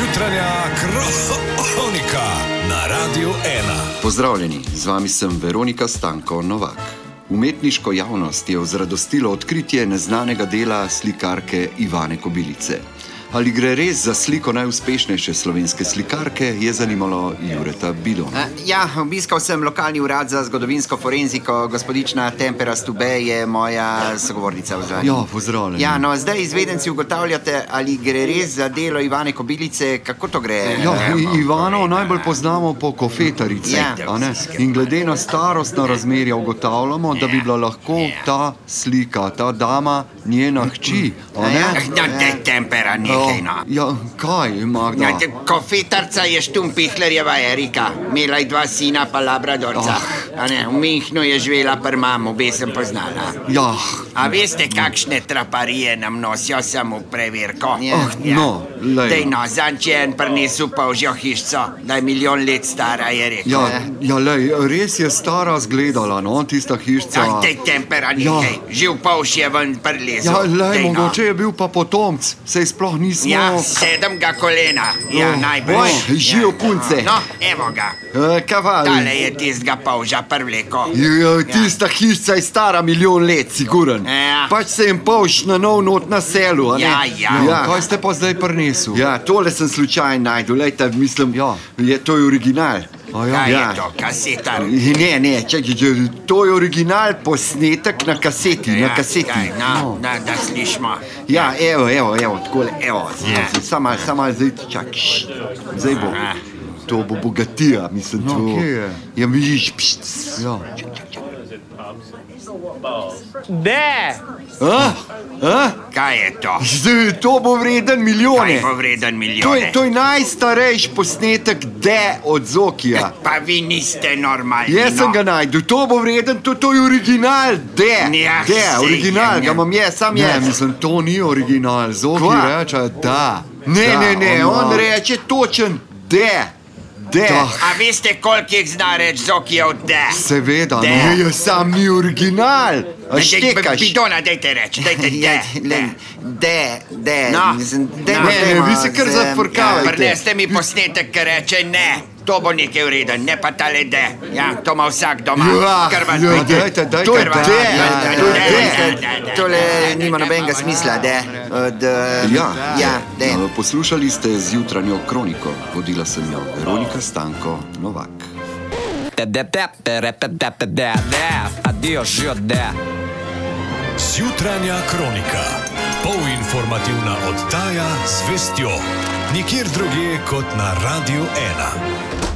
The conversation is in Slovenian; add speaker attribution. Speaker 1: Jutranja kronika na Radiu 1.
Speaker 2: Pozdravljeni, z vami sem Veronika Stanko Novak. Umetniško javnost je vzradostilo odkritje neznanega dela slikarke Ivane Kobilice. Ali gre res za sliko najuspešnejše slovenske slikarke, je zanimalo Jureta Bidona.
Speaker 3: Eh, Ja, obiskal sem lokalni urad za zgodovinsko forenziko, gospodična Tempera Stube je moja sogovornica v zadnjem.
Speaker 2: Ja, pozdravljeni.
Speaker 3: Ja, no, zdaj izvedenci ugotavljate, ali gre res za delo Ivane Kobilice, kako to gre.
Speaker 2: Ja,
Speaker 3: Ne,
Speaker 2: I-
Speaker 3: no,
Speaker 2: Ivano
Speaker 3: povej,
Speaker 2: najbolj poznamo po kofetarici.
Speaker 3: Ja.
Speaker 2: a ne? In glede na starostna razmerja ugotavljamo, da bi bila lahko ta slika, ta dama, njena hči. a
Speaker 3: Ja,
Speaker 2: ne?
Speaker 3: ja.
Speaker 4: No, te tempera nekaj, no.
Speaker 2: Ja, ja, kaj, Magda?
Speaker 4: Ja, te Kofetarca je Štumpihlerjeva Erika, imela je dva sina, pa Labradorca.
Speaker 2: Oh.
Speaker 4: A Ne, v Münchnu je živela pri mamu, obe sem poznala.
Speaker 2: Ja,
Speaker 4: A veste, kakšne traparije nam nosijo samo preverko?
Speaker 3: Ja. Oh,
Speaker 2: no, glej.
Speaker 4: Dej no, zanč je en prinesel pa vžjo hišico, da je milijon let stara, je rekel.
Speaker 2: ja, ja lej, res je stara zgledala, no, tista hišica.
Speaker 4: Ja, te tempera nekaj,
Speaker 2: Ja.
Speaker 4: ja. živ pa vš je ven prelezel.
Speaker 2: Ja, lej,
Speaker 4: Dej, no.
Speaker 2: mogoče je bil pa potomc, se sploh nismo.
Speaker 4: Ja, sedem ga kolena, ja,
Speaker 2: No,
Speaker 4: najbolj.
Speaker 2: no, živ punce.
Speaker 4: No, evo ga.
Speaker 2: Eh, Kaval.
Speaker 4: Tale je tistega polža prvleko.
Speaker 2: Jo, Ja, tista hišica je stara milijon let, siguren.
Speaker 4: Ja.
Speaker 2: Pač se jim povš na nov not na selu. a ne?
Speaker 4: Ja, ja.
Speaker 2: ja. Kaj ste pa zdaj prinesli?
Speaker 5: Ja, tole sem slučajno najdel, lejte, mislim,
Speaker 2: Ja.
Speaker 5: je to je original.
Speaker 2: A
Speaker 4: Kaj
Speaker 2: ja.
Speaker 4: je to, kasetar?
Speaker 5: Ne, ne, čakaj, če- to je original posnetek na kaseti, ja, na kaseti. No.
Speaker 4: Kaj,
Speaker 2: No.
Speaker 4: na, na, da slišimo.
Speaker 5: Ja, evo, evo, evo, takole, evo,
Speaker 4: Ja.
Speaker 5: ja. samo malo, samo malo, zdaj čakaj, šš, zdaj bo.
Speaker 4: Aha.
Speaker 5: To bo bogatija, mislim,
Speaker 2: No,
Speaker 5: to
Speaker 2: kje je?
Speaker 5: Ja, vidiš, pšt.
Speaker 2: Ja.
Speaker 5: A? A?
Speaker 4: Kaj je to?
Speaker 5: Zdaj, to bo vreden
Speaker 4: Kaj
Speaker 5: milijone.
Speaker 4: bo vreden
Speaker 5: To je,
Speaker 4: milijone?
Speaker 5: to je najstarejši posnetek de od Zokija.
Speaker 4: Pa vi niste normalni.
Speaker 5: Jaz
Speaker 4: no.
Speaker 5: sem ga najdel, to bo vreden, to, to je original, de,
Speaker 4: Ja,
Speaker 5: de,
Speaker 4: sej, ja,
Speaker 5: original, ga
Speaker 4: ja.
Speaker 5: imam jaz, sam
Speaker 2: Ne,
Speaker 5: jaz.
Speaker 2: mislim, to ni original, zelo
Speaker 5: Kva?
Speaker 2: reče, da.
Speaker 5: Ne,
Speaker 2: da,
Speaker 5: ne, ne,
Speaker 2: ona-
Speaker 5: on reče točen, de, de.
Speaker 4: A veste, koliko jih zna reči zokijev de?
Speaker 2: Seveda,
Speaker 4: De.
Speaker 2: no.
Speaker 5: Ne, jaz sam ni original, a štekaš.
Speaker 4: Bidona, dajte reči, dajte de.
Speaker 3: Ja, le, de, de,
Speaker 4: No.
Speaker 3: mislim, de,
Speaker 4: No.
Speaker 3: ne,
Speaker 4: Ne,
Speaker 5: ne, vi se kar zafrkavajte.
Speaker 4: Ja, Prineste mi posnetek, ki reče ne. To bo nekaj vreden, ne pa tale de. Ja, to ima vsak doma.
Speaker 5: Ja,
Speaker 4: Kar vas
Speaker 5: ja,
Speaker 4: pride.
Speaker 2: dajte, dajte,
Speaker 4: Kar
Speaker 5: to
Speaker 4: vas
Speaker 5: je de,
Speaker 4: pride.
Speaker 5: ja,
Speaker 4: De,
Speaker 5: to je
Speaker 4: de,
Speaker 5: de.
Speaker 4: de, de, de,
Speaker 3: Tole
Speaker 4: de, de,
Speaker 3: nima
Speaker 4: de,
Speaker 3: nobenega
Speaker 4: de.
Speaker 3: smisla, ja, de. Od,
Speaker 2: Ja.
Speaker 3: ja, de.
Speaker 2: Eh, Poslušali ste zjutranjo kroniko, vodila sem jo Veronika Stanko Novak.
Speaker 6: Adijo, žijo, da.
Speaker 1: Jutranja kronika. Polinformativna oddaja z vestjo. Nikjer drugje kot na Radiu 1.